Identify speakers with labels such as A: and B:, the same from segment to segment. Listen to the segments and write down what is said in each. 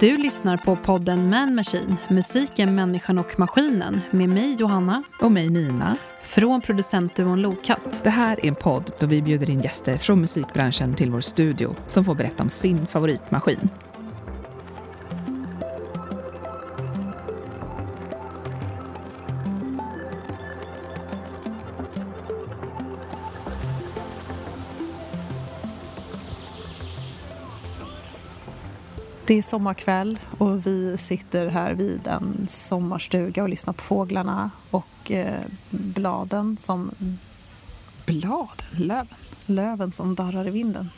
A: Du lyssnar på podden Man Machine, musiken, människan och maskinen med mig Johanna
B: Och mig Nina.
A: från producentduon Lokatt.
B: Det här är en podd då vi bjuder in gäster från musikbranschen till vår studio som får berätta om sin favoritmaskin.
C: Det är sommarkväll och vi sitter här vid en sommarstuga och lyssnar på fåglarna och eh, bladen som
B: Bladen, löven.
C: löven som darrar i vinden.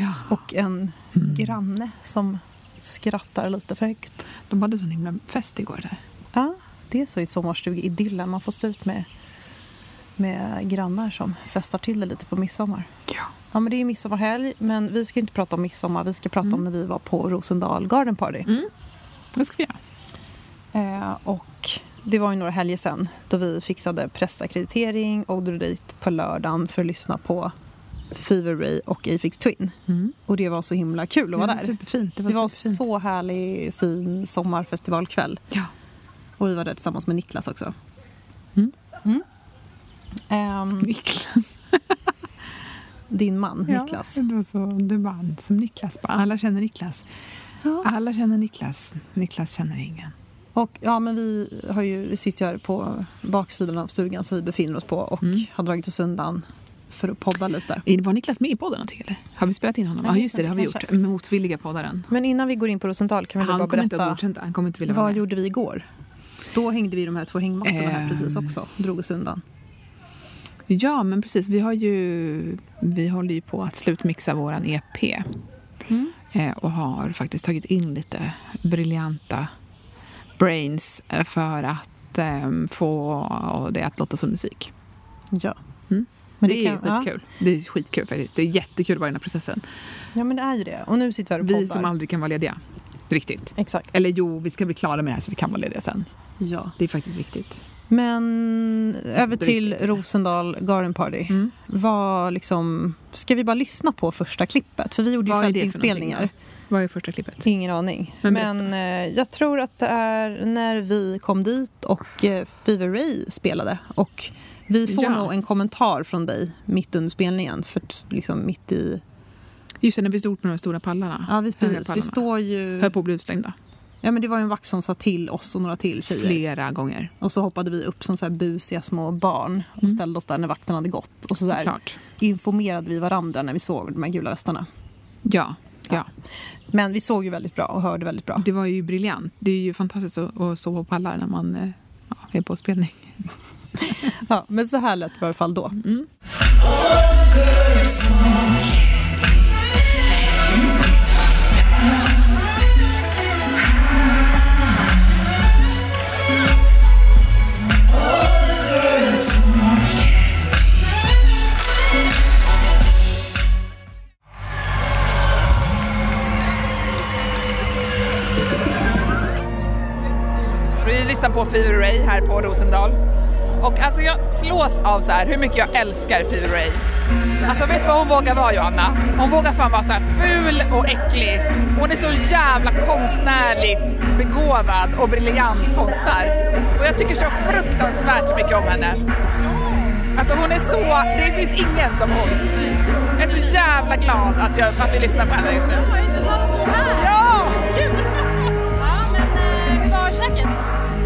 B: Ja.
C: Och en granne som skrattar lite för högt.
B: De hade sån himla fest igår där.
C: Ja, det är så i sommarstugeidyllen. Man får stå ut med, med grannar som festar till det lite på midsommar.
B: Ja.
C: Ja, men det är midsommarhelg, men vi ska inte prata om midsommar. Vi ska prata om när vi var på Rosendal Garden Party.
B: Det ska vi göra.
C: Eh, och det var ju några helger sen då vi fixade pressackreditering och drog dit på lördagen för att lyssna på Fever Ray och Afix Twin. Och det var så himla kul att vara
B: det var
C: där.
B: Mm. superfint. Det var,
C: Det var
B: superfint.
C: så härlig, fin sommarfestivalkväll.
B: Ja.
C: Och vi var där tillsammans med Niklas också.
B: Mm.
C: Mm. Ehm,
B: Niklas.
C: din man,
B: Ja,
C: Niklas.
B: Det var så, du bara, han som Niklas. Bara, Alla känner Niklas.
C: Ja.
B: Alla känner Niklas. Niklas känner ingen.
C: Och, ja, men vi, har ju, vi sitter ju här på baksidan av stugan som vi befinner oss på och
B: Mm.
C: har dragit oss undan för att podda lite.
B: Var Niklas med i podden någonting eller? Har vi spelat in honom?
C: Jag
B: Ja,
C: vet
B: just det, det har
C: inte,
B: vi gjort. Motvilliga poddaren.
C: Men innan vi går in på Rosendal kan vi väl
B: Han
C: bara
B: kommer inte att
C: berätta
B: godkänt Han kommer inte vilja vara
C: vad
B: med.
C: gjorde vi igår? Eh, Då hängde vi de här två hängmattorna här
B: Ehm.
C: precis också, drog oss undan.
B: Ja, men precis. Vi, har ju, vi håller ju på att slutmixa våran EP.
C: Mm.
B: Eh, och har faktiskt tagit in lite briljanta brains eh, för att eh, få det att låta som musik.
C: Ja.
B: Mm.
C: Men
B: det, är
C: kan-
B: ju skitkul. Det är skitkul faktiskt. Det är jättekul att vara i den här processen.
C: Ja. ja, men det är ju det. Och nu sitter vi här och
B: Vi
C: poddar.
B: som aldrig kan vara lediga. Riktigt.
C: Exakt.
B: Eller jo, vi ska bli klara med det här så vi kan vara lediga sen.
C: Ja.
B: Det är faktiskt viktigt.
C: Men över
B: Det är
C: till
B: riktigt.
C: Rosendal Garden Party.
B: Mm.
C: Vad liksom, ska vi bara lyssna på första klippet? För vi gjorde ju
B: Vad är det för
C: fältinspelningar.
B: någonting Vad är första klippet?
C: Ingen aning.
B: Men
C: Men,
B: berätta.
C: eh, jag tror att det är när vi kom dit och eh, Fever Ray spelade. Och vi får
B: Ja.
C: nog en kommentar från dig mitt under spelningen. För t- liksom mitt i...
B: Just det, när vi stod på de här stora pallarna.
C: Ja, vi,
B: Höga
C: precis. Vi
B: pallarna.
C: står ju...
B: Höll på att bli utslängda.
C: Ja, men det var ju en vakt som sa till oss och några till tjejer.
B: Flera gånger.
C: Och så hoppade vi upp som så här busiga små barn och ställde oss där när vakten hade gått. Och så där
B: Mm. Såklart.
C: informerade vi varandra när vi såg de här gula västarna.
B: Ja, ja.
C: Men vi såg ju väldigt bra och hörde väldigt bra.
B: Det var ju briljant. Det är ju fantastiskt att, att stå på pallar när man eh, ja, är på spelning.
C: Ja, men så här lät det i alla fall då.
D: Vi lyssnar på Fever Ray här på Rosendal. Och alltså jag slås av så här hur mycket jag älskar Fever Ray. Alltså vet du vad hon vågar vara Johanna? Hon vågar fan vara så här ful och äcklig. Hon är så jävla konstnärligt begåvad och briljant konstnär. Och jag tycker så fruktansvärt mycket om henne. Alltså hon är så, det finns ingen som hon. Jag är så jävla glad att, jag, att vi lyssnar på henne just nu. Ja!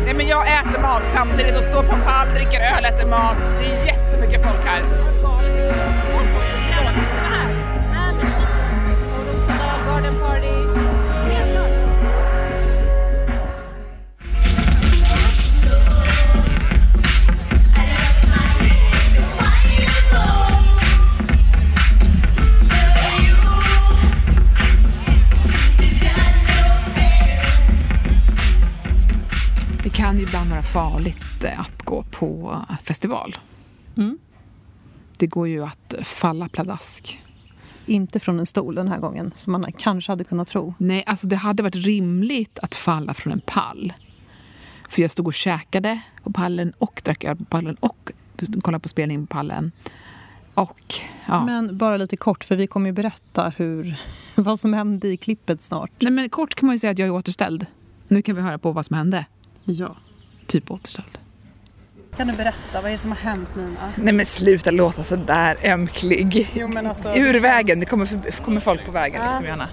D: Nej men jag äter mat samtidigt och står på en pall, dricker öl, äter mat. Det är jättemycket folk här.
B: Det kan ju ibland vara farligt eh, att gå på festival.
C: Mm.
B: Det går ju att falla pladask.
C: Inte från en stol den här gången, som man kanske hade kunnat tro.
B: Nej, alltså det hade varit rimligt att falla från en pall. För jag stod och käkade på pallen och drack öl på pallen och kollade på spelning på pallen. Och, ja.
E: Men bara lite kort, för vi kommer ju berätta hur, vad som hände i klippet snart.
B: Nej, men kort kan man ju säga att jag är återställd. Nu kan vi höra på vad som hände.
E: Ja.
B: Typ återställd.
C: Kan du berätta, vad är det som har hänt Nina?
D: Nej men sluta låta så där ömklig.
C: Jo, men alltså, det
D: Ur
C: känns-
D: vägen, det kommer, förbi- kommer folk på vägen liksom Johanna.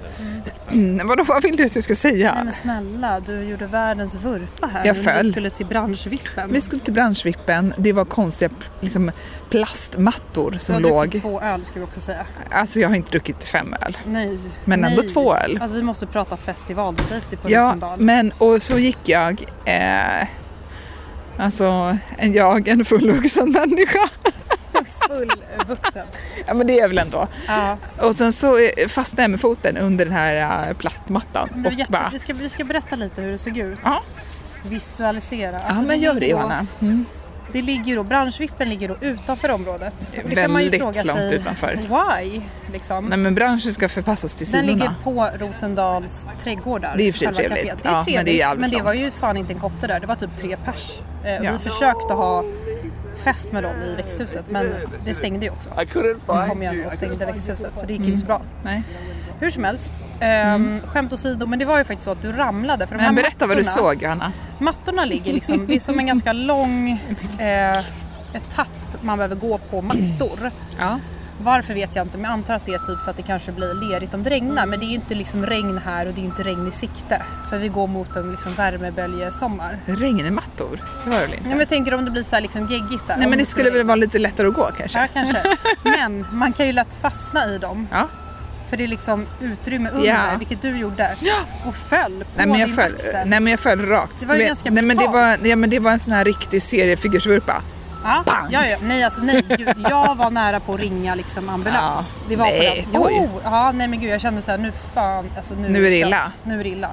D: Mm, vadå, vad vill du att jag ska
C: Nej
D: säga?
C: men snälla, du gjorde världens vurpa här.
D: Jag
C: när
D: föll.
C: Vi skulle till branschvippen.
D: Vi skulle till branschvippen, det var konstiga liksom, plastmattor som
C: du har
D: låg.
C: druckit två öl ska vi också säga.
D: Alltså jag har inte druckit fem öl.
C: Nej.
D: Men
C: nej.
D: ändå två öl.
C: Alltså vi måste prata festivalsafety på
D: Ja,
C: Rosendal.
D: men och så gick jag, eh, alltså en jag, en fullvuxen människa.
C: Fullvuxen.
D: Ja men det är jag väl ändå.
C: Ja.
D: Och sen så eh, fastnade jag med foten under den här eh, plattmattan.
C: Men det
D: och
C: var jätte... vi, ska, vi ska berätta lite hur det såg ut.
D: Ja.
C: Visualisera. Alltså,
D: ja men gör det Johanna. Mm.
C: Det ligger ju då, branschvippen ligger då utanför området. Och Det kan man ju
D: Väldigt
C: fråga
D: långt
C: sig,
D: utanför.
C: why? Liksom.
D: Nej men branschen ska förpassas till
C: Den
D: sidorna.
C: ligger på Rosendals trädgårdar.
D: Det är i och för sig
C: själva kaféet.
D: trevligt.
C: Det är
D: Ja, men det är
C: trevligt, men det,
D: jävligt
C: var
D: långt.
C: ju fan inte en kotte där. Det var typ tre pers. Eh, och
D: Ja.
C: Vi försökte ha fest med dem i växthuset, men det stängde ju också.
F: I couldn't
C: De
F: find
C: kom igen
F: you. Mm.
C: och stängde växthuset, så det gick inte så bra.
D: Nej.
C: Hur som helst, ehm, skämt åsido, men det var ju faktiskt så att du ramlade. För de här
D: Men berätta vad du
C: mattorna-
D: såg Johanna.
C: Mattorna ligger liksom, det är som en ganska lång eh, etapp man behöver gå på mattor.
D: Ja.
C: Varför vet jag inte, men jag antar att det är typ för att det kanske blir lerigt om det regnar. Men det är ju inte liksom regn här och det är inte regn i sikte. För vi går mot en liksom värmeböljesommar.
D: Regnmattor, det var det väl inte?
C: Ja, men jag tänker om det blir så här liksom geggigt där.
D: Nej
C: om
D: men det skulle väl
C: regna.
D: vara lite lättare att gå kanske?
C: Ja, kanske. Men man kan ju lätt fastna i dem.
D: Ja.
C: För det är liksom utrymme under,
D: Ja.
C: vilket du gjorde. Och föll på
D: Nej men, jag
C: din
D: föll,
C: axel.
D: nej men jag föll rakt.
C: Det var ju
D: Du vet-
C: ganska
D: nej, men det
C: brutalt.
D: var, ja, men det var en sån här riktig seriefigursvurpa.
C: Ja, ja, ja. Nej, alltså nej. Gud, jag var nära på att ringa liksom ambulans.
D: Ja.
C: det var
D: Nej,
C: på den.
D: oj.
C: Jo, ja, nej men gud jag kände så här, nu fan, alltså nu,
D: Nu är det
C: kört.
D: illa.
C: Nu är det illa.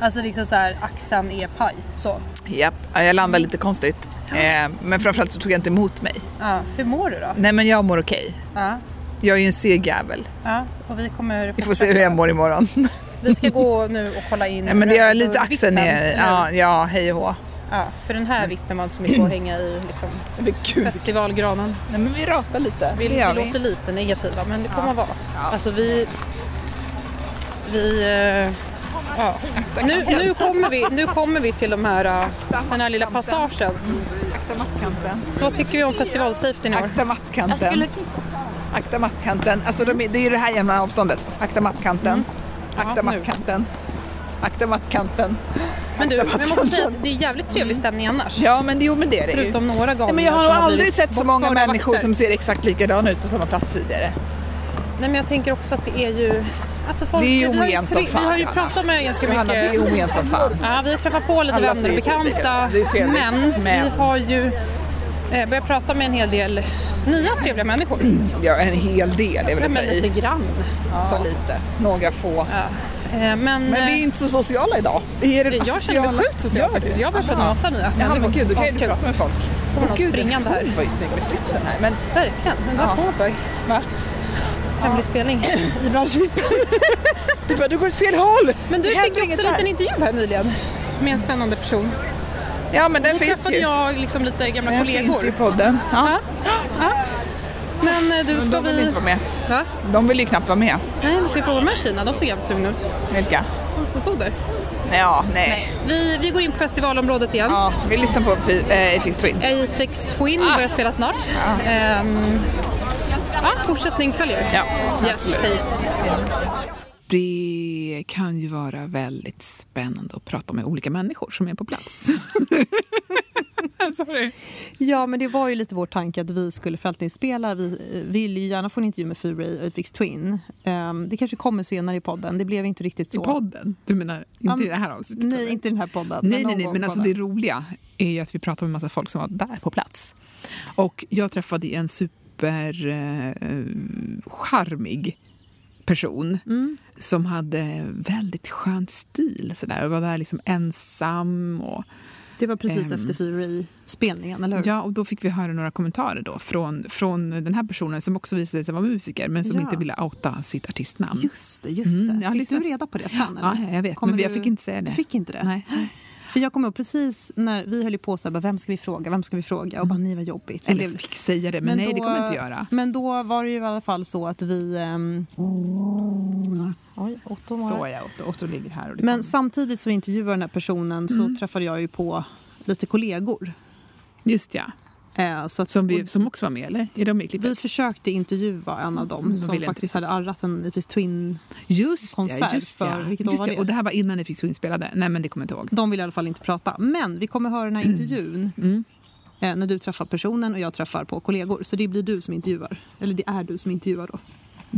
C: Alltså liksom så här, axeln är paj. Så.
D: Japp, ja, jag landade lite konstigt. Eh, men framförallt så tog jag inte emot mig.
C: Ja. Hur mår du då?
D: Nej men jag mår okej.
C: Ja.
D: Jag är ju en seg jävel.
C: Ja, och vi kommer
D: Vi får se hur jag mår imorgon.
C: Vi ska gå nu och kolla in.
D: Nej men det är lite axeln
C: vippen
D: är,
C: nu.
D: ja, ja hej och hå.
C: Ja, för den här vippen var inte så mycket att hänga i liksom,
D: Men gud.
C: festivalgranen.
D: Nej men vi ratar lite.
C: Vi,
D: Det
C: vi
D: gör
C: låter lite negativa men det får
D: Ja.
C: man vara. Alltså vi... Vi... eh, ja. nu, nu, kommer vi, nu kommer vi till de här, eh, den här lilla passagen.
D: Akta mattkanten.
C: Så vad tycker vi om festivalsafety i år?
D: Akta mattkanten. Akta mattkanten. Alltså de, är- det är ju det här jämna avståndet. Akta mattkanten. Akta
C: Mm. Ja, nu.
D: mattkanten. Akta mattkanten.
C: Men du, jag måste säga att det är jävligt trevlig stämning annars.
D: Ja men det, jo, men det är det ju.
C: Förutom några gånger
D: Nej, men jag har
C: som
D: nog aldrig
C: blivit
D: sett så många
C: bortförda
D: människor
C: vakter.
D: som ser exakt likadana ut på samma plats tidigare.
C: Nej men jag tänker också att det är ju... Alltså folk,
D: Det är ju
C: vi har
D: ojämnt
C: tre-
D: som fan,
C: Vi har ju
D: Johanna.
C: pratat med ganska
D: Johanna, det är
C: mycket...
D: ojämnt som fan.
C: Ja, vi har träffat på lite
D: Alla
C: vänner och
D: säger typ
C: bekanta.
D: likadant. Det är trevligt,
C: men,
D: men-
C: vi har ju eh, börjat prata med en hel del nya trevliga människor.
D: Ja, en hel del är
C: Ja,
D: väl att Mm. ta
C: men lite
D: i.
C: grann.
D: Så lite. Några få.
C: Ja. Eh, Men,
D: Men vi är
C: eh,
D: inte så sociala idag. Är det
C: jag känner mig sjukt social faktiskt. Jag börjar prata med massa nya
D: Ja, men gud, då kan ju du
C: Askul.
D: prata med folk.
C: Kommer någon
D: Gud,
C: springande här?
D: Hon var ju snygg med slipsen här. Men
C: Verkligen. Men
D: Ja.
C: ja. Håberg.
D: va?
C: Hemlig spelning i branschvippen.
D: Du bara, du går åt fel håll!
C: Men du
D: Det
C: fick
D: händer
C: ju
D: inget
C: också en
D: här.
C: liten intervju här nyligen. Med en spännande person.
D: Ja, men den
C: Då
D: finns
C: träffade
D: ju.
C: jag liksom lite gamla
D: Den finns ju i
C: kollegor.
D: podden. Ja.
C: Men eh, du,
D: Men
C: ska
D: de vill
C: vi...
D: inte vara med.
C: Va?
D: De vill ju knappt vara med.
C: Nej, men ska vi fråga de här tjejerna? De såg jävligt sugna ut.
D: Vilka?
C: De som stod där.
D: Ja, nej.
C: Vi, vi går in på festivalområdet igen.
D: Ja, vi lyssnar på Fi- eh, Fix Twin.
C: Afex Twin börjar spela snart. Ehm, ja, fortsättning följer.
D: Ja,
C: yes, hej.
B: Det kan ju vara väldigt spännande att prata med olika människor som är på plats.
D: Sorry.
E: Ja, men det var ju lite vår tanke att vi skulle förvaltningsspela. Vi eh, vill ju gärna få en intervju med Furay och Fix Twin. Ehm, det kanske kommer senare i podden. Det blev inte riktigt
B: I
E: så.
B: podden? Du menar inte i det här avsnittet?
E: Nej,
B: eller?
E: inte i den här podden.
B: Nej,
E: någon
B: nej, nej,
E: gång
B: men alltså
E: kommer.
B: det roliga är ju att vi pratar med massa folk som var där på plats. Och jag träffade ju en super eh, charmig person
E: Mm.
B: som hade väldigt skön stil sådär och var där liksom ensam och
E: det var precis
B: Ehm.
E: efter Furay-spelningen, eller hur?
B: Ja, och då fick vi höra några kommentarer då från, från den här personen som också visade sig vara musiker men som
E: Ja.
B: inte ville outa sitt artistnamn.
E: Mm. Just det, just det.
B: Mm, jag har
E: fick
B: lyssnat.
E: du reda på det sen?
B: Ja,
E: eller?
B: jag vet,
E: Kommer
B: men
E: du-
B: jag fick inte säga det.
E: Du fick inte det?
B: Nej.
C: För jag kom upp precis när vi höll ju på så här, bara, vem ska vi fråga, vem ska vi fråga? Och bara, nej vad jobbigt.
B: Mm. Eller
C: Och det-
B: fick säga det, men, nej det kommer jag inte göra.
C: Men då var det ju i alla fall så att vi... ehm, Oj, Otto var
B: Så ja, Otto, Otto ligger här och det
C: Men
B: kommer-
C: samtidigt som vi intervjuade den här personen
A: Mm.
C: så träffade jag ju på lite kollegor.
B: Just ja,
C: Eh, så att,
B: som,
C: och
B: vi, som också var med eller? Är de med i
C: vi
B: klippet?
C: försökte intervjua en av
A: Mm,
C: dem
B: de ville
C: som
B: inte
C: faktiskt
B: riktigt.
C: hade arrat en IPS Twin.
B: Just
C: konsert
B: ja, just
C: för-
B: ja.
C: vilket år
B: Just
C: var
B: ja.
C: det?
B: Och det här var innan ni fick inspelade? Nej men det kommer jag inte ihåg.
C: De ville i alla fall inte prata. Men vi kommer höra den här intervjun
B: Mm.
C: eh, när du träffar personen och jag träffar på kollegor. Så det blir du som intervjuar. Eller det är du som intervjuar då.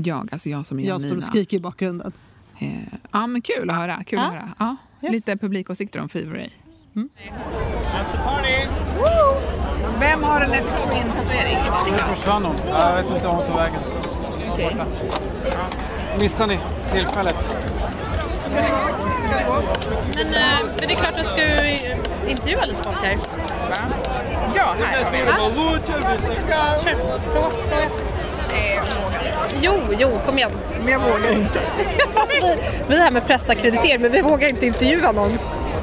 B: Jag, alltså jag som är
C: Jag står
B: Janina.
C: och skriker i bakgrunden.
B: Eh, ja men kul att höra, kul
C: Ja.
B: att höra. Ja,
C: Yes.
B: Lite publikåsikter om Fever Ray.
D: Vem har en FX Twin-tatuering?
G: Nu försvann hon. Jag vet inte vart hon tog vägen. Borta. Missar ni tillfället?
A: Men, eh, men det är klart att jag ska ju intervjua lite folk här.
D: Ja, här har vi den.
A: Jo, jo, kom igen. Men jag vågar inte. alltså, vi, vi är här med pressackreditering men vi vågar inte intervjua någon.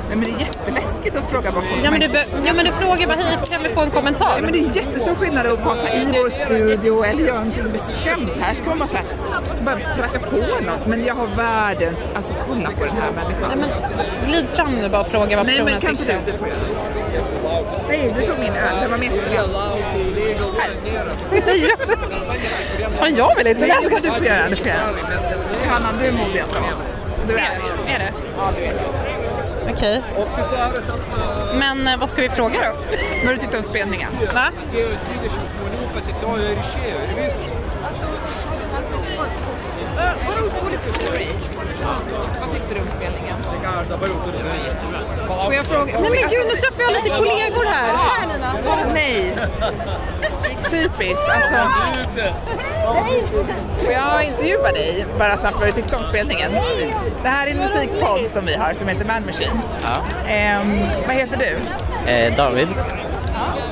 D: Nej, men det är jätteläskigt att fråga vad folk
A: Ja men du, be- ja, men du frågar bara hej, kan vi få en kommentar?
D: Men det är jättestor skillnad att vara så här i vår studio eller göra någonting bestämt. Här ska man bara, så här, bara pracka på något. Men jag har världens... Alltså kolla på den här människan.
A: Men glid fram nu bara och fråga vad
D: Nej
A: personen
D: men kan inte
A: tyckte.
D: du? Du får göra det. Nej, du tog min öl. Det var mesterlös.
A: Fan jag vill inte,
D: Nej,
A: jag ska
D: du får göra det. Du får göra det. Johanna, du är modigast av oss. Du är det. Är det? Ja, du är det.
A: Okej. Men eh, vad ska vi fråga då?
D: Vad du tyckte om spelningen?
A: Va?
D: Vad tyckte du om spelningen? Får jag fråga?
A: Nej men gud, nu träffar jag lite kollegor här. Här Nina, ta den.
D: Ah. Nej! Typiskt. Alltså. Får jag intervjua dig bara snabbt vad du tyckte om spelningen? Det här är en musikpodd som vi har som heter Man Machine. Ehm, vad heter du?
H: Eh, David,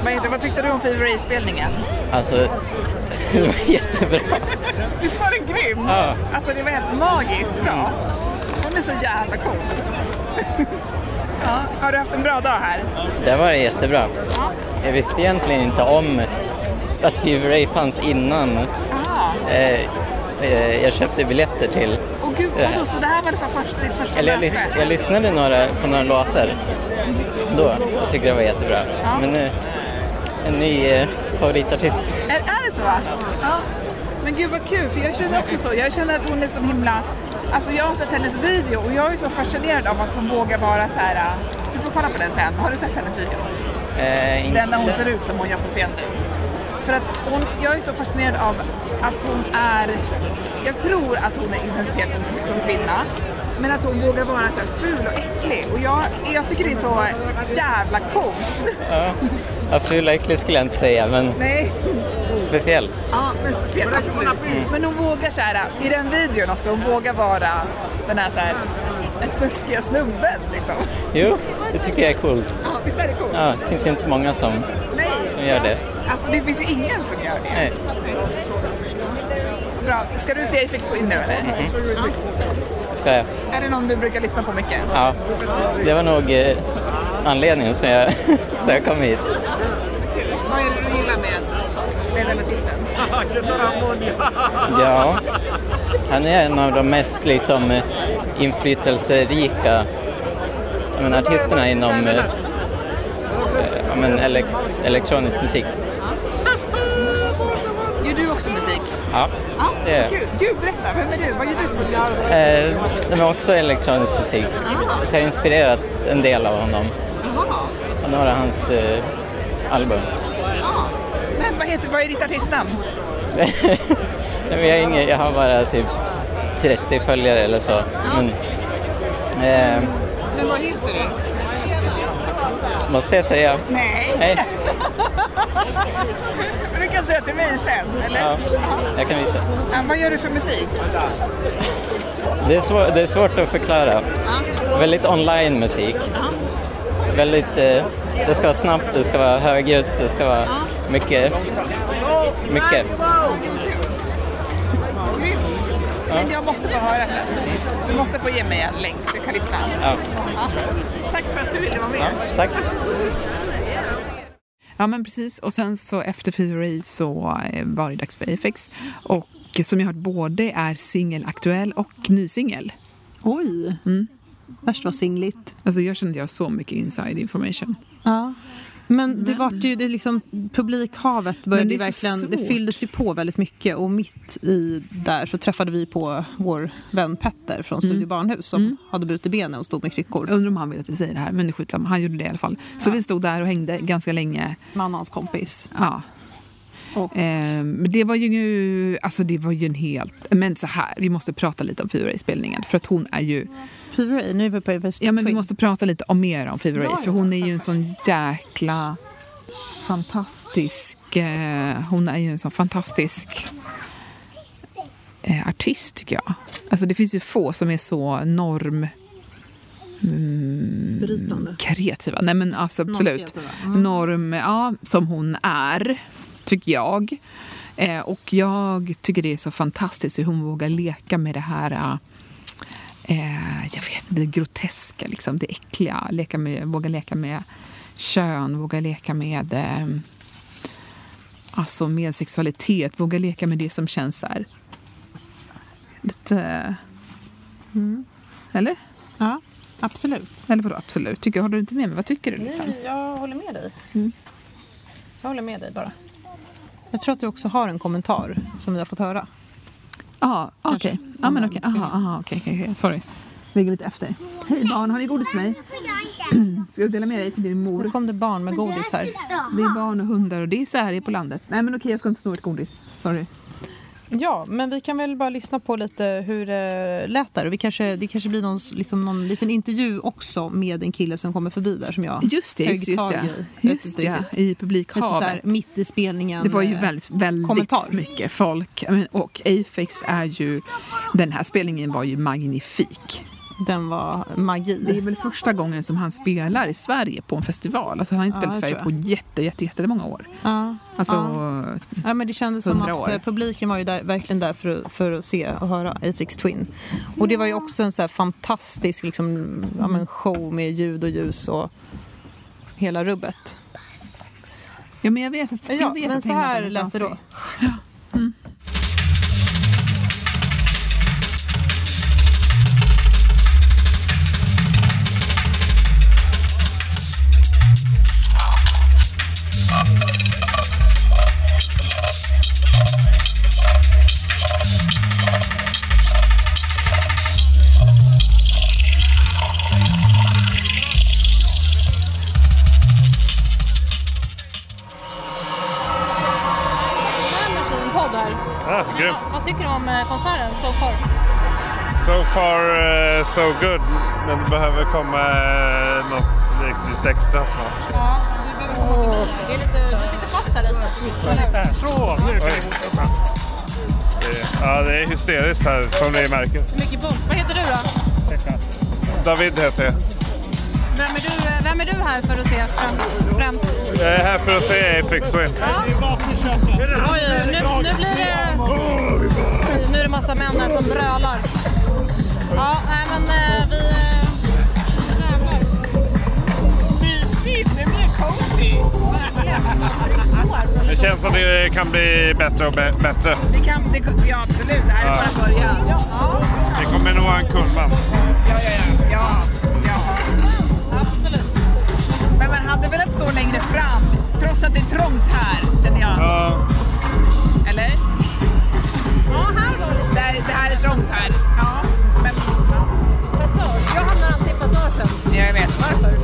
D: Vad, heter, vad tyckte du om Fever spelningen
H: alltså det var jättebra.
D: Visst var den grym?
H: Ja.
D: Alltså det var helt magiskt bra. Hon är så jävla cool. ja, har du haft en bra dag här?
H: Det var jättebra. Jag visste egentligen inte om att Fever Ray fanns innan
D: Ja.
H: eh, eh, jag köpte biljetter till.
D: Och gud,
H: Det här.
D: vadå, så det här var liksom först, ditt första
H: Eh. Eller jag,
D: möte?
H: lys- jag lyssnade några, på några låtar då och tyckte det var jättebra. Men nu, en ny eh, favoritartist.
D: Är, är det så? Ja. Men gud vad kul, för jag känner också så. Jag känner att hon är så himla... Alltså jag har sett hennes video och jag är så fascinerad av att hon vågar vara så här... äh, Du får kolla på den sen. Har du sett hennes video?
H: Eh, inte-
D: Den när hon ser ut som hon gör på scen nu. För att hon, jag är så fascinerad av att hon är... Jag tror att hon är identitet som, som kvinna. Men att hon vågar vara så här ful och äcklig. Och jag, jag tycker det är så jävla coolt.
H: ja, ful och äcklig skulle jag inte säga, men
D: Nej.
H: speciell.
D: Ja, men speciellt. Absolut. Men hon vågar så här, i den videon också, hon vågar vara den här så här den snuskiga snubben liksom.
H: Jo, det tycker jag är coolt.
D: Ja, visst är det coolt?
H: Ja, det finns inte så många som, som
D: Nej.
H: gör det.
D: Alltså det finns ju ingen som gör det.
H: Nej.
D: Bra. Ska du se Effect Twin nu eller?
H: Ska jag?
D: Är det någon du brukar lyssna på mycket?
H: Ja, det var nog eh, anledningen som jag, som jag kom hit.
D: Vad är det du gillar med, med den artisten?
H: Ja, han är en av de mest liksom, eh, inflytelserika jag menar, artisterna inom eh, eh, ja, men, elek- elektronisk musik.
D: Gör du också musik?
H: Ja, det är
D: Gud, gud, berätta. Vem är du? Vad gör du för musik?
H: eh, De är också elektronisk musik. Så jag har inspirerats en del av honom
D: Jaha.
H: och några av hans eh, album.
D: Ja. Men vad, heter, vad är ditt artistnamn?
H: Nej, men jag, har ingen, jag har bara typ 30 följare eller så. Men, eh,
D: Men vad heter du?
H: måste jag säga.
D: Nej.
H: Hej.
D: Du kan säga till mig sen, eller?
H: Ja, jag kan visa.
D: Ja, vad gör du för musik?
H: Det är, svår, det är svårt att förklara. Väldigt online musik. Väldigt, eh, det ska vara snabbt, det ska vara högljutt, det ska vara mycket. mycket.
D: Men jag måste få höra sen. Du måste få ge mig en länk så jag kan lyssna.
H: Ja.
D: Tack för att du ville vara
H: Tack.
B: Ja, men precis. Och sen så efter Fevery så eh, var det dags för Afex. Och som jag hört både är singel aktuell och ny singel.
C: Oj!
B: Mm.
C: Värst var singligt.
B: Alltså jag kände jag så mycket inside information.
C: Ja. Men det vart ju, det liksom, publikhavet började
B: Men det
C: ju
B: är så
C: verkligen,
B: svårt.
C: det fylldes ju på väldigt mycket och mitt i där så träffade vi på vår vän Petter
B: Mm.
C: från Studio Barnhus som hade brutit benet och stod med kryckor.
B: Jag undrar om han vill att vi säger det här, men det är skitsamma. Han gjorde det i alla fall. Så vi stod där och hängde ganska länge.
C: Man och hans kompis.
B: Ja.
C: Och-
B: Eh, men det var ju, alltså det var ju en helt... Men så här, vi måste prata lite om Fevery-spelningen. För att hon är ju...
C: Fevery, nu är vi på Everest
B: Ja, men vi
C: Twin.
B: måste prata lite om mer om Fevery. För hon är ju en sån jäkla fantastisk... Eh, hon är ju en sån fantastisk eh, artist, tycker jag. Alltså det finns ju få som är så norm... Mm,
C: Brytande.
B: kreativa. Nej men alltså, absolut. Norm, ja, som hon är, tycker jag. Eh, och jag tycker det är så fantastiskt hur hon vågar leka med det här eh, jag vet inte, det groteska, liksom, det äckliga. Leka med, våga leka med kön, våga leka med eh, alltså med sexualitet, våga leka med det som känns så här lite... Mm. Eller?
C: Ja, absolut.
B: Eller vadå absolut? Tycker, håller du inte med mig? Vad tycker du? Liksom?
C: jag håller med dig. Jag håller med dig bara. Mm. Jag tror att du också har en kommentar som vi har fått höra.
B: Ja, okej. Ja, men okej. Aha, aha, okej, okej, okej. Sorry. Ligger lite efter. Hej barn, har ni godis till mig? Ska jag dela med dig till din
C: Nu
B: mor?
C: kom det barn med godis här.
B: Det är barn och hundar och det är så här det är på landet. Nej men okej, jag ska inte sno ett godis. Sorry.
C: Ja, men vi kan väl bara lyssna på lite hur det lät där. Och vi kanske, det kanske blir någon, s- liksom, någon liten intervju också med en kille som kommer förbi där som jag
B: Just det, just,
C: högg
B: just
C: tag i.
B: det.
C: Jag vet
B: Just
C: inte
B: det, i
C: riktigt. Lite så här
B: publikhavet.
C: mitt i spelningen.
B: Det var ju
C: eh,
B: väldigt, väldigt
C: kommentar.
B: mycket folk. Jag men, Och Afex är ju... Den här spelningen var ju magnifik.
C: Den var
B: Det är
C: magi.
B: väl första gången som han spelar i Sverige på en festival. Alltså han har inte
C: Ja,
B: spelat i
C: det
B: Sverige på
C: tror
B: jätte, jätte, jättemånga år.
C: Ja,
B: Alltså,
C: ja. Ja, men det kändes som
B: 100
C: att
B: år.
C: eh, publiken var ju där, verkligen där för, att- för att se och höra Aphex Twin. Och det var ju också en så här fantastisk liksom, ja, men show med ljud och ljus och hela rubbet.
B: ja men jag vet att...
C: Ja,
B: jag vet
C: men
B: att
C: så här
B: hängmattan är
C: lät det då.
B: dansig.
I: Ah, grym. Vad tycker du om konserten so far? So far eh, so good. Men det behöver komma eh, något riktigt extra snart. Ja, du behöver komma lite. Du sitter fast här lite. Ja, det är hysteriskt här som ni märker.
D: Mycket bump. Vad heter du då?
I: David heter jag.
D: Vem är du, eh, vem är du här för att se fram, främst?
I: Jag är här för att se Apex Twin.
D: Oj, nu, nu blir det... Nu är det massa män här som brölar. Ja, nej men eh, vi... eh, jävlar. Mysigt, det blir cozy.
I: Det känns som det kan bli bättre och bä- bättre.
D: Det kan, det, ja absolut, det här är bara början. Ja,
I: Det kommer nog en kurva.
D: ja, ja, ja, ja. Absolut. Men man hade velat stå längre fram, trots att det är trångt här, känner jag.
I: Ja,
D: Eller? Ja, här var det. Där, det här är trångt här. Ja. Men, Passage. Jag hamnar alltid i passagen. Jag vet. Varför?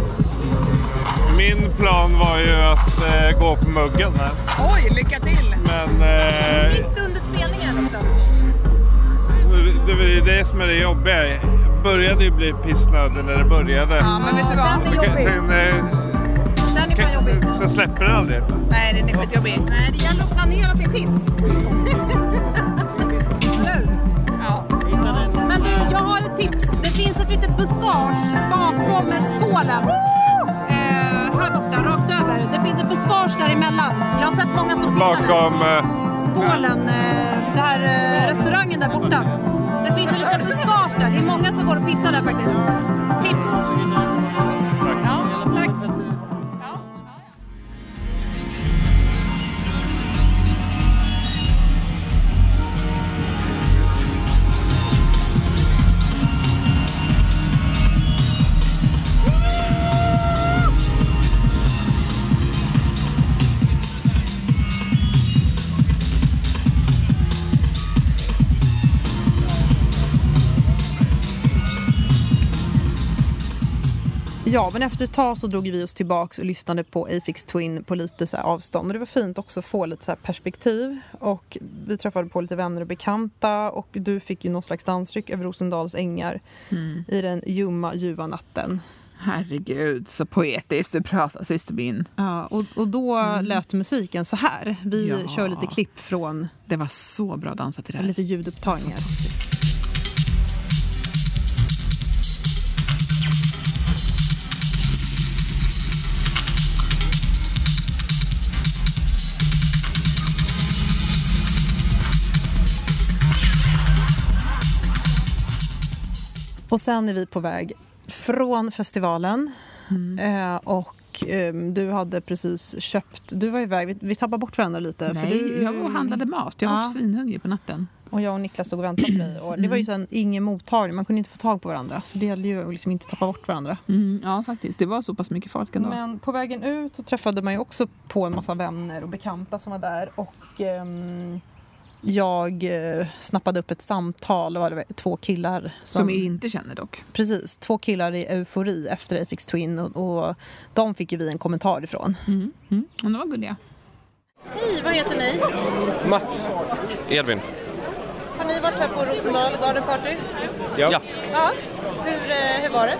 I: min plan var ju att eh, gå på muggen här.
D: Oj, lycka till!
I: Men eh,
D: Mitt under spelningen också.
I: det var ju det som är det jobbiga. Jag började ju bli pissnödig när det började.
D: Ja, men vet du vad?
I: Men kan- sen, eh,
D: Den är fan
I: kan,
D: jobbig.
I: sen, sen släpper det aldrig.
D: Nej, den är skitjobbig. Nej, det gäller att planera sin skiss. Ja.
J: Men du, jag har ett tips. Det finns ett litet buskage bakom skålen. Eh, här borta, rakt över. Det finns ett buskage däremellan. Jag har sett många som pissar där.
I: Bakom... Eh,
J: skålen. Eh, det här eh, restaurangen där borta. Det finns ett litet buskage där. Det är många som går och pissar där faktiskt. Tips!
D: ja, tack.
C: Ja, men efter ett tag så drog vi oss tillbaks och lyssnade på Afix Twin på lite så här avstånd. Och det var fint också att få lite så här perspektiv. Och vi träffade på lite vänner och bekanta och du fick ju någon slags dansryck över Rosendals ängar i den ljumma, ljuva natten.
B: Herregud, så poetiskt du pratar systermin.
C: Ja, och, och då lät musiken så här. Vi
B: Ja.
C: kör lite klipp från
B: Det var så bra dansat till det här.
C: lite ljudupptagningar. Och sen är vi på väg från festivalen.
B: Mm.
C: Eh, och ehm, du hade precis köpt... Du var iväg. Vi, vi tappade bort varandra lite.
B: Nej,
C: för du,
B: jag var och handlade mat. Jag var
C: Ja.
B: svinhungrig på natten.
C: och jag och Niklas stod och väntade på dig. Och det var ju sen ingen mottagning, man kunde inte få tag på varandra. Så det gällde ju att liksom inte tappa bort varandra.
B: Mm, ja, faktiskt. Det var så pass mycket folk ändå.
C: Men på vägen ut så träffade man ju också på en massa vänner och bekanta som var där. Och ehm, jag eh, snappade upp ett samtal, det var det två killar. Som,
B: Som vi inte känner dock.
C: Precis, två killar i eufori efter Afix Twin. Och, och de fick ju vi en kommentar ifrån.
B: Mm. Men de var gulliga.
D: Hej, vad heter ni?
H: Mats. Edvin.
D: Har ni varit här på Rosendal Garden Party?
H: Ja. ja.
D: Ja. Hur, eh, hur var det?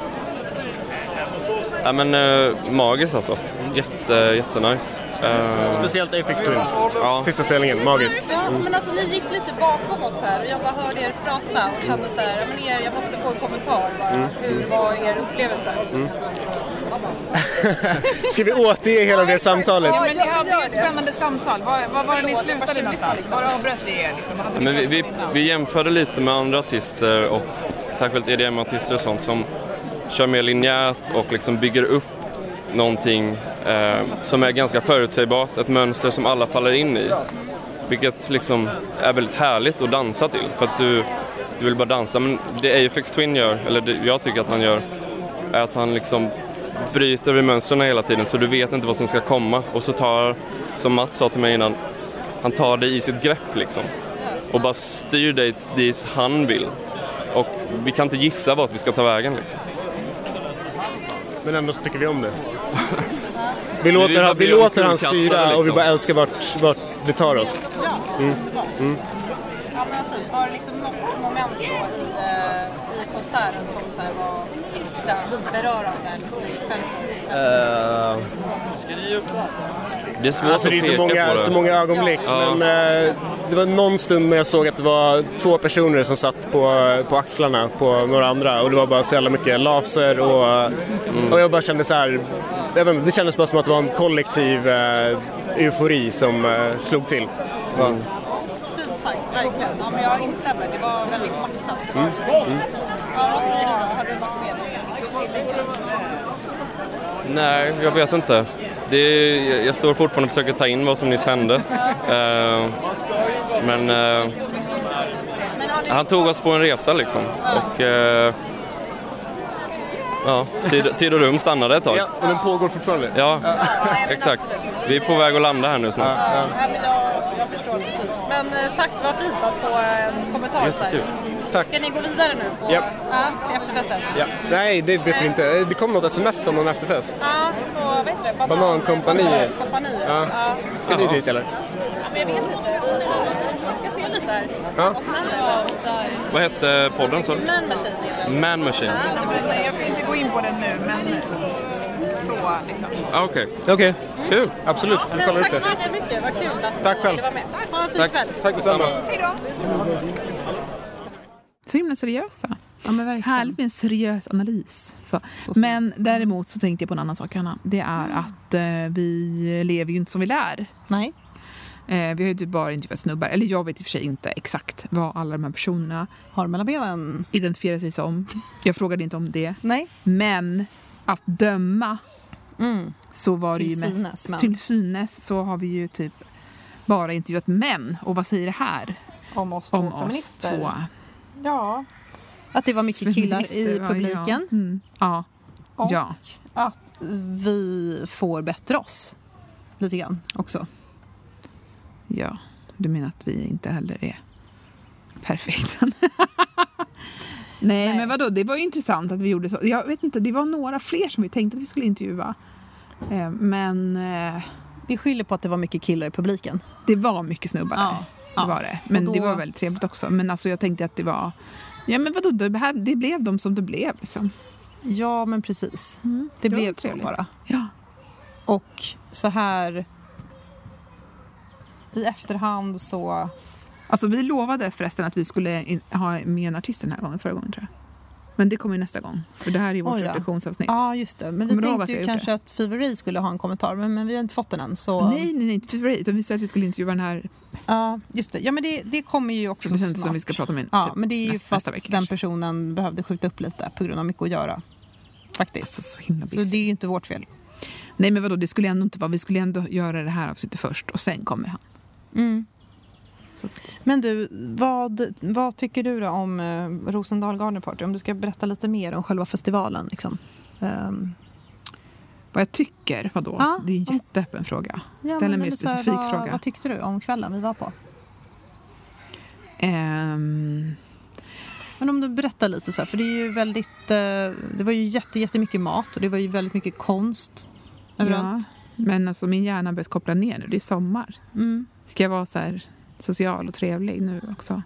H: men eh, magiskt alltså. Jätte, jättenice. Eh,
I: Speciellt Apex Twin.
H: ja.
K: Sista spelningen, magiskt.
D: Ja,
I: Mm.
D: men alltså ni gick lite bakom oss här och jag bara hörde er prata och kände så här, ja, men er, jag måste få en kommentar bara.
I: Mm.
D: Hur var er upplevelse?
I: Ska vi återge hela det samtalet?
L: Ja, men ni hade ju ett spännande samtal. Var, var var det ni slutade någonstans? Var avbröt vi er? Liksom? Vad hade ni
H: Men vi,
L: pratat
H: vi,
L: om innan?
H: vi jämförde lite med andra artister och särskilt EDM-artister och sånt som kör mer linjärt och liksom bygger upp någonting eh, som är ganska förutsägbart, ett mönster som alla faller in i. Vilket liksom är väldigt härligt att dansa till för att du, du vill bara dansa. Men det Afex Twin gör, eller det jag tycker att han gör, är att han liksom bryter vid mönstren hela tiden så du vet inte vad som ska komma och så tar, som Mats sa till mig innan, han tar dig i sitt grepp liksom och bara styr dig dit han vill. Och vi kan inte gissa vart vi ska ta vägen liksom.
I: Men ändå så tycker vi om det. Vi
H: Vi vill
I: låter,
H: bara
I: vi
H: bli
I: låter han
H: omkullkastade,
I: styra och vi
H: liksom.
I: bara älskar vart, vart det tar oss. Mm.
D: Ja men vad fint. Var det liksom något moment så i, eh, i konserten som så här var extra berörande? liksom, eller som ni själv upplevde?
H: Det är svårt
I: Alltså det är
H: att peka
I: så många,
H: på det.
I: så många ögonblick.
H: Ja.
I: Men eh, det var någon stund när jag såg att det var två personer som satt på, på axlarna på några andra och det var bara så jävla mycket laser och, och jag bara kände så här. Jag vet inte, det kändes bara som att det var en kollektiv eh, eufori som eh, slog till.
D: Fint sagt, verkligen. Ja men jag instämmer. Det var väldigt maxat. Det var- Ja, vad säger du då? Har du något mer?
H: Nej, jag vet inte. Det är, jag- jag står fortfarande och försöker ta in vad som nyss hände. Eh, men eh, han tog oss på en resa liksom. Och eh, ja, tid, tid och rum stannade ett tag.
I: Ja, och den pågår fortfarande.
H: Ja, exakt. Vi är på väg att landa här nu snart.
D: Ja, men jag, jag förstår precis. Men eh, tack, vad fint att få en kommentar. Så här.
H: Jättekul.
I: Tack.
D: Ska ni gå vidare nu på
I: Japp.
D: ja, efterfesten?
I: Ja. Nej, det vet vi inte. Det kom något sms om någon efterfest.
D: Ja, på vad heter det? Banan-
I: Banankompaniet.
D: Banankompaniet.
I: Ja.
D: Ja.
I: Ska ni dit eller?
D: Men jag vet inte. Vi, vi ska se lite här
I: Ja.
D: vad som händer.
H: Vad hette podden sa du?
D: Man Machine heter den.
H: Man Machine.
L: Men Jag kan inte gå in på den nu, men så liksom.
H: Ah, Okej,
I: Okej,
H: kul.
I: absolut. Vi kollar upp
D: Tack
I: det.
D: så jättemycket. Vad kul att
I: Tack
D: ni
I: själv.
D: ville vara med. Ha en fin kväll.
I: Tack detsamma.
B: Så himla seriösa.
C: Ja, men verkligen.
B: Härligt med en seriös analys. Så.
C: sant. Mm.
B: Men däremot så tänkte jag på en annan sak, Hanna. Det är att eh, vi lever ju inte som vi lär.
C: Nej.
B: Eh, vi har ju typ bara intervjuat snubbar. Eller jag vet i och för sig inte exakt vad alla de här personerna
C: Har mellan benen?
B: identifierar sig som. Jag frågade inte om det.
C: Nej.
B: Men att döma
C: Mm.
B: så var
C: Till
B: det ju
C: synes,
B: mest...
C: men.
B: Till synes så har vi ju typ bara intervjuat män. Och vad säger det här
C: Om oss två
B: om oss
C: feminister.
B: två?
C: Ja. Att det var mycket killar
B: feminister?
C: i
B: Ja,
C: publiken.
B: Ja. Mm. ja.
C: Och-
B: ja.
C: Att vi får bättre oss. Lite grann också.
B: Ja, du menar att vi inte heller är perfekta? Nej, men vadå, det var ju intressant att vi gjorde så. Jag vet inte, det var några fler som vi tänkte att vi skulle intervjua. Eh, Men eh,
C: Vi skyller på att det var mycket killar i publiken.
B: det var mycket snubbar där.
C: Ja, ja.
B: Det var det. Men
C: Och då-
B: det var väldigt trevligt också. Men alltså jag tänkte att det var... Ja men vadå, det, här, det blev de som det blev liksom.
C: Ja, men precis. Mm. Det,
B: Det var
C: blev så
B: trevligt.
C: bara.
B: Ja.
C: Och så här... I efterhand så...
B: Alltså vi lovade förresten att vi skulle in, ha med en artist den här gången, förra gången tror jag. Men det kommer ju nästa gång. För det här är ju vårt
C: Oj då.
B: reflektionsavsnitt.
C: Ja, just det. Men vi
B: Kommer du ihåg att
C: tänkte
B: vi har
C: ju
B: gjort
C: kanske att Fevery skulle ha en kommentar, men, men vi har inte fått den än. Så...
B: Nej, nej, nej, inte för dig. Utan vi sa att vi skulle intervjua den här
C: Ja, just det. Ja, men det, det kommer ju också
B: producenten
C: snart.
B: som vi ska prata med
C: Ja,
B: typ
C: men det är ju
B: nästa,
C: för
B: nästa
C: att
B: vecka.
C: den
B: kanske.
C: personen behövde skjuta upp lite på grund av mycket att göra. Faktiskt.
B: Alltså, så himla
C: Så
B: busy.
C: det är ju inte vårt fel.
B: Nej men vadå, det skulle ändå inte vara. Vi skulle ändå göra det här avsnittet först och sen kommer han.
C: Mm.
B: Så att,
C: Men du, vad, vad tycker du då om eh, Rosendal Garden Party? Om du ska berätta lite mer om själva festivalen. Liksom. Ehm,
B: vad jag tycker, vadå?
C: Ja,
B: det är en
C: om-
B: jätteöppen fråga.
C: ja,
B: Ställ en
C: men
B: mer
C: eller så här,
B: specifik
C: vad,
B: fråga.
C: Vad tyckte du om kvällen vi var på?
B: Ehm,
C: Men om du berättar lite så här, för det är ju väldigt... eh, det var ju jätte, jättemycket mat och det var ju väldigt mycket konst överallt.
B: Ja, men alltså min hjärna har börjat koppla ner nu. Det är sommar.
C: Mm.
B: Ska jag vara så här social och trevlig nu också?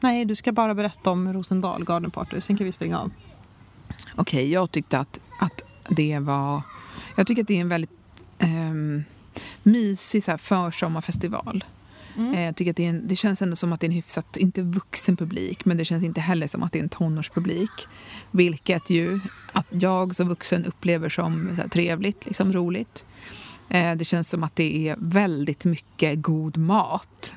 C: Nej, du ska bara berätta om Rosendal Garden Party, sen kan vi stänga av.
B: Okej, jag tyckte att, att det var... Jag tycker att det är en väldigt ehm, mysig så här, försommarfestival. Eh, Jag tycker att det, är en, det känns ändå som att det är en hyfsat, inte vuxen publik, men det känns inte heller som att det är en tonårspublik. Vilket ju att jag som vuxen upplever som så här, trevligt, liksom roligt. Eh, Det känns som att det är väldigt mycket god mat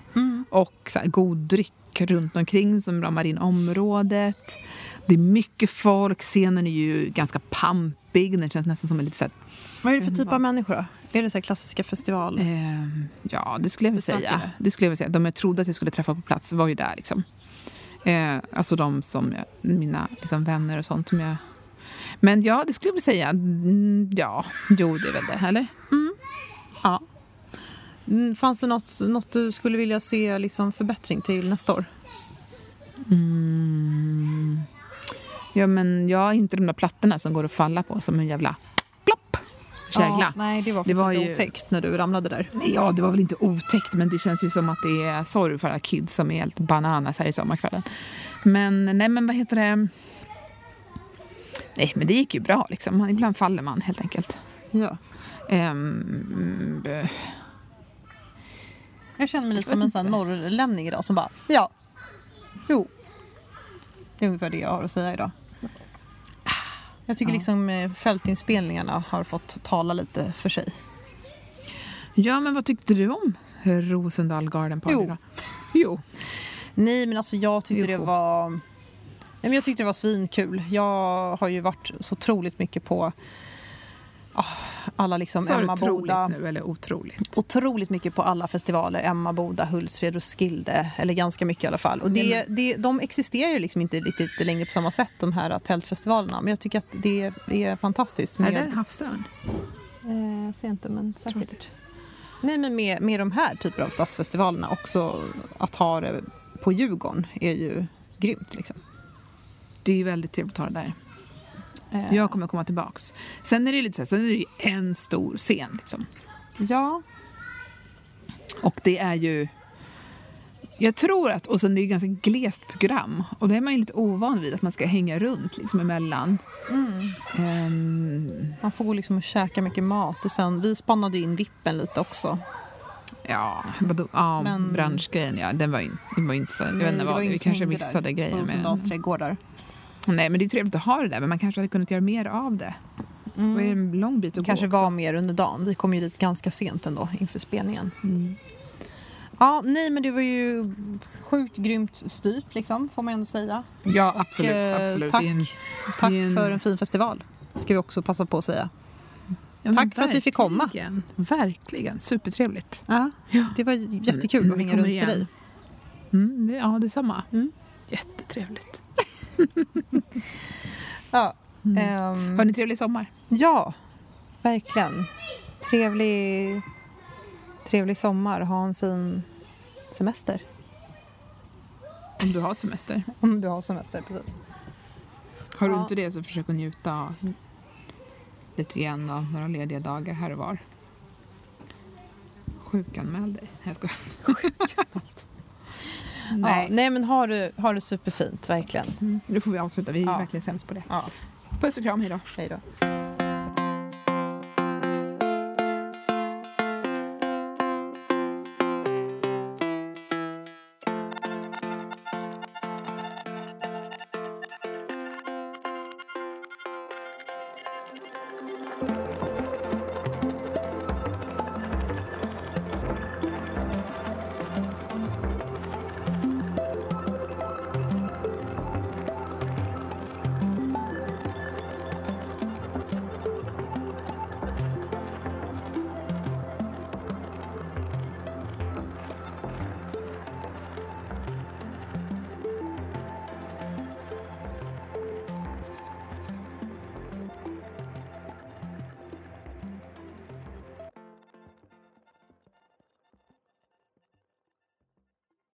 B: och så här, god dryck runt omkring som ramar in området. Det är mycket folk, scenen är ju ganska pampig, den känns nästan som en lite så här,
C: Vad är det för typ av människor då? Är det så här klassiska festival...
B: Ehm, ja, det skulle jag vilja
C: Besökare.
B: säga. Det skulle jag vilja säga. De jag trodde att jag skulle träffa på plats var ju där. Liksom. Eh, alltså de som jag, mina liksom, vänner och sånt som jag... Men ja, det skulle jag vilja säga. Mm, ja, jo det är väl det, eller?
C: Ja. Mm, Fanns det något, något du skulle vilja se liksom förbättring till nästa år?
B: Ja, men ja, inte de där plattorna som går att falla på som en jävla plopp, kägla.
C: Ja, nej, det var
B: Det
C: faktiskt
B: var
C: lite
B: ju-
C: otäckt när du ramlade där.
B: Ja, det var väl inte otäckt, men det känns ju som att det är sorg för alla kids som är helt bananas här i sommarkvällen. Men nej, men vad heter det? Nej, men det gick ju bra liksom. Man- Ibland faller man helt enkelt.
C: Ja.
B: Ehm, eh,
C: Jag känner mig lite som en sån här norrlänning idag som bara, ja, jo. Det är ungefär det jag har att säga idag. Jag tycker liksom eh, fältinspelningarna har fått tala lite för sig.
B: ja, men vad tyckte du om Rosendal Garden Party
C: Jo.
B: då? Jo.
C: Nej, men alltså jag tyckte det
B: Jo.
C: var... Nej, men jag tyckte det var svinkul. Jag har ju varit så otroligt mycket på ah, alla liksom
B: Sa du
C: Emma
B: troligt
C: Boda.
B: nu eller otroligt?
C: Otroligt mycket på alla festivaler. Emma Boda, Hultsfred, Roskilde. Eller ganska mycket i alla fall. Och det,
B: Mm.
C: det, de existerar ju liksom inte riktigt längre på samma sätt, de här tältfestivalerna. Men jag tycker att det är fantastiskt.
B: Är
C: Med,
B: det en havsörn?
C: Eh, jag ser inte, men säkert. Nej, men med, med de här typer av stadsfestivalerna också att ha det på Djurgården är ju grymt. Liksom.
B: Det är ju väldigt trevligt att ha det där. Jag kommer komma tillbaks. Sen är det ju lite så här, sen är det ju en stor scen liksom.
C: Ja,
B: Och det är ju... Jag tror att... Och sen det är ju ganska glest program. Och då är man ju lite ovan vid att man ska hänga runt liksom emellan. Mm. Ehm,
C: man får gå liksom och käka mycket mat. Och sen, vi spannade ju in vippen lite också.
B: ja, vadå? Ja,
C: Men-
B: branschgrejen ja. Den var ju den var ju inte så... Jag
C: Nej,
B: vet inte
C: var
B: vad det
C: ingen
B: Vi
C: som
B: kanske
C: hängde
B: missade
C: där
B: grejer.
C: På Rosendals
B: Men,
C: trädgårdar.
B: nej, men det är ju trevligt att ha det där. Men man kanske hade kunnat göra mer av det. Det var ju en lång bit att
C: kanske
B: gå också.
C: var mer under dagen. Vi kom ju dit ganska sent ändå inför spelningen.
B: Mm.
C: Ja, nej men det var ju sjukt grymt styrt liksom, får man ändå säga.
B: Ja, absolut.
C: Eh,
B: absolut.
C: Tack,
B: Det är en-
C: tack
B: det är en-
C: för en fin festival. Ska vi också passa på att säga.
B: Ja, men
C: tack för att vi fick komma.
B: verkligen. Verkligen. Supertrevligt.
C: Ja, det var jättekul
B: Mm,
C: att
B: vi
C: hänga
B: kommer
C: runt
B: igen.
C: med dig.
B: Mm, det, ja, detsamma.
C: Mm.
B: Jättetrevligt.
C: Ja,
B: Mm.
C: ehm,
B: Har ni trevlig sommar?
C: ja verkligen. Trevlig, trevlig sommar. Ha en fin semester.
B: Om du har semester.
C: Om du har semester, precis.
B: Har du
C: Ja. Mm.
B: inte det så försök att njuta lite grann av några lediga dagar här och var. Sjukanmäl dig. Jag skojar.
C: Nej,
B: Nej.
C: ja, nej men har du, har du superfint, verkligen.
B: Nu får vi avsluta. Vi är
C: Ja.
B: verkligen sämst på det.
C: Ja.
B: Puss och kram, hej då.
C: Hej då.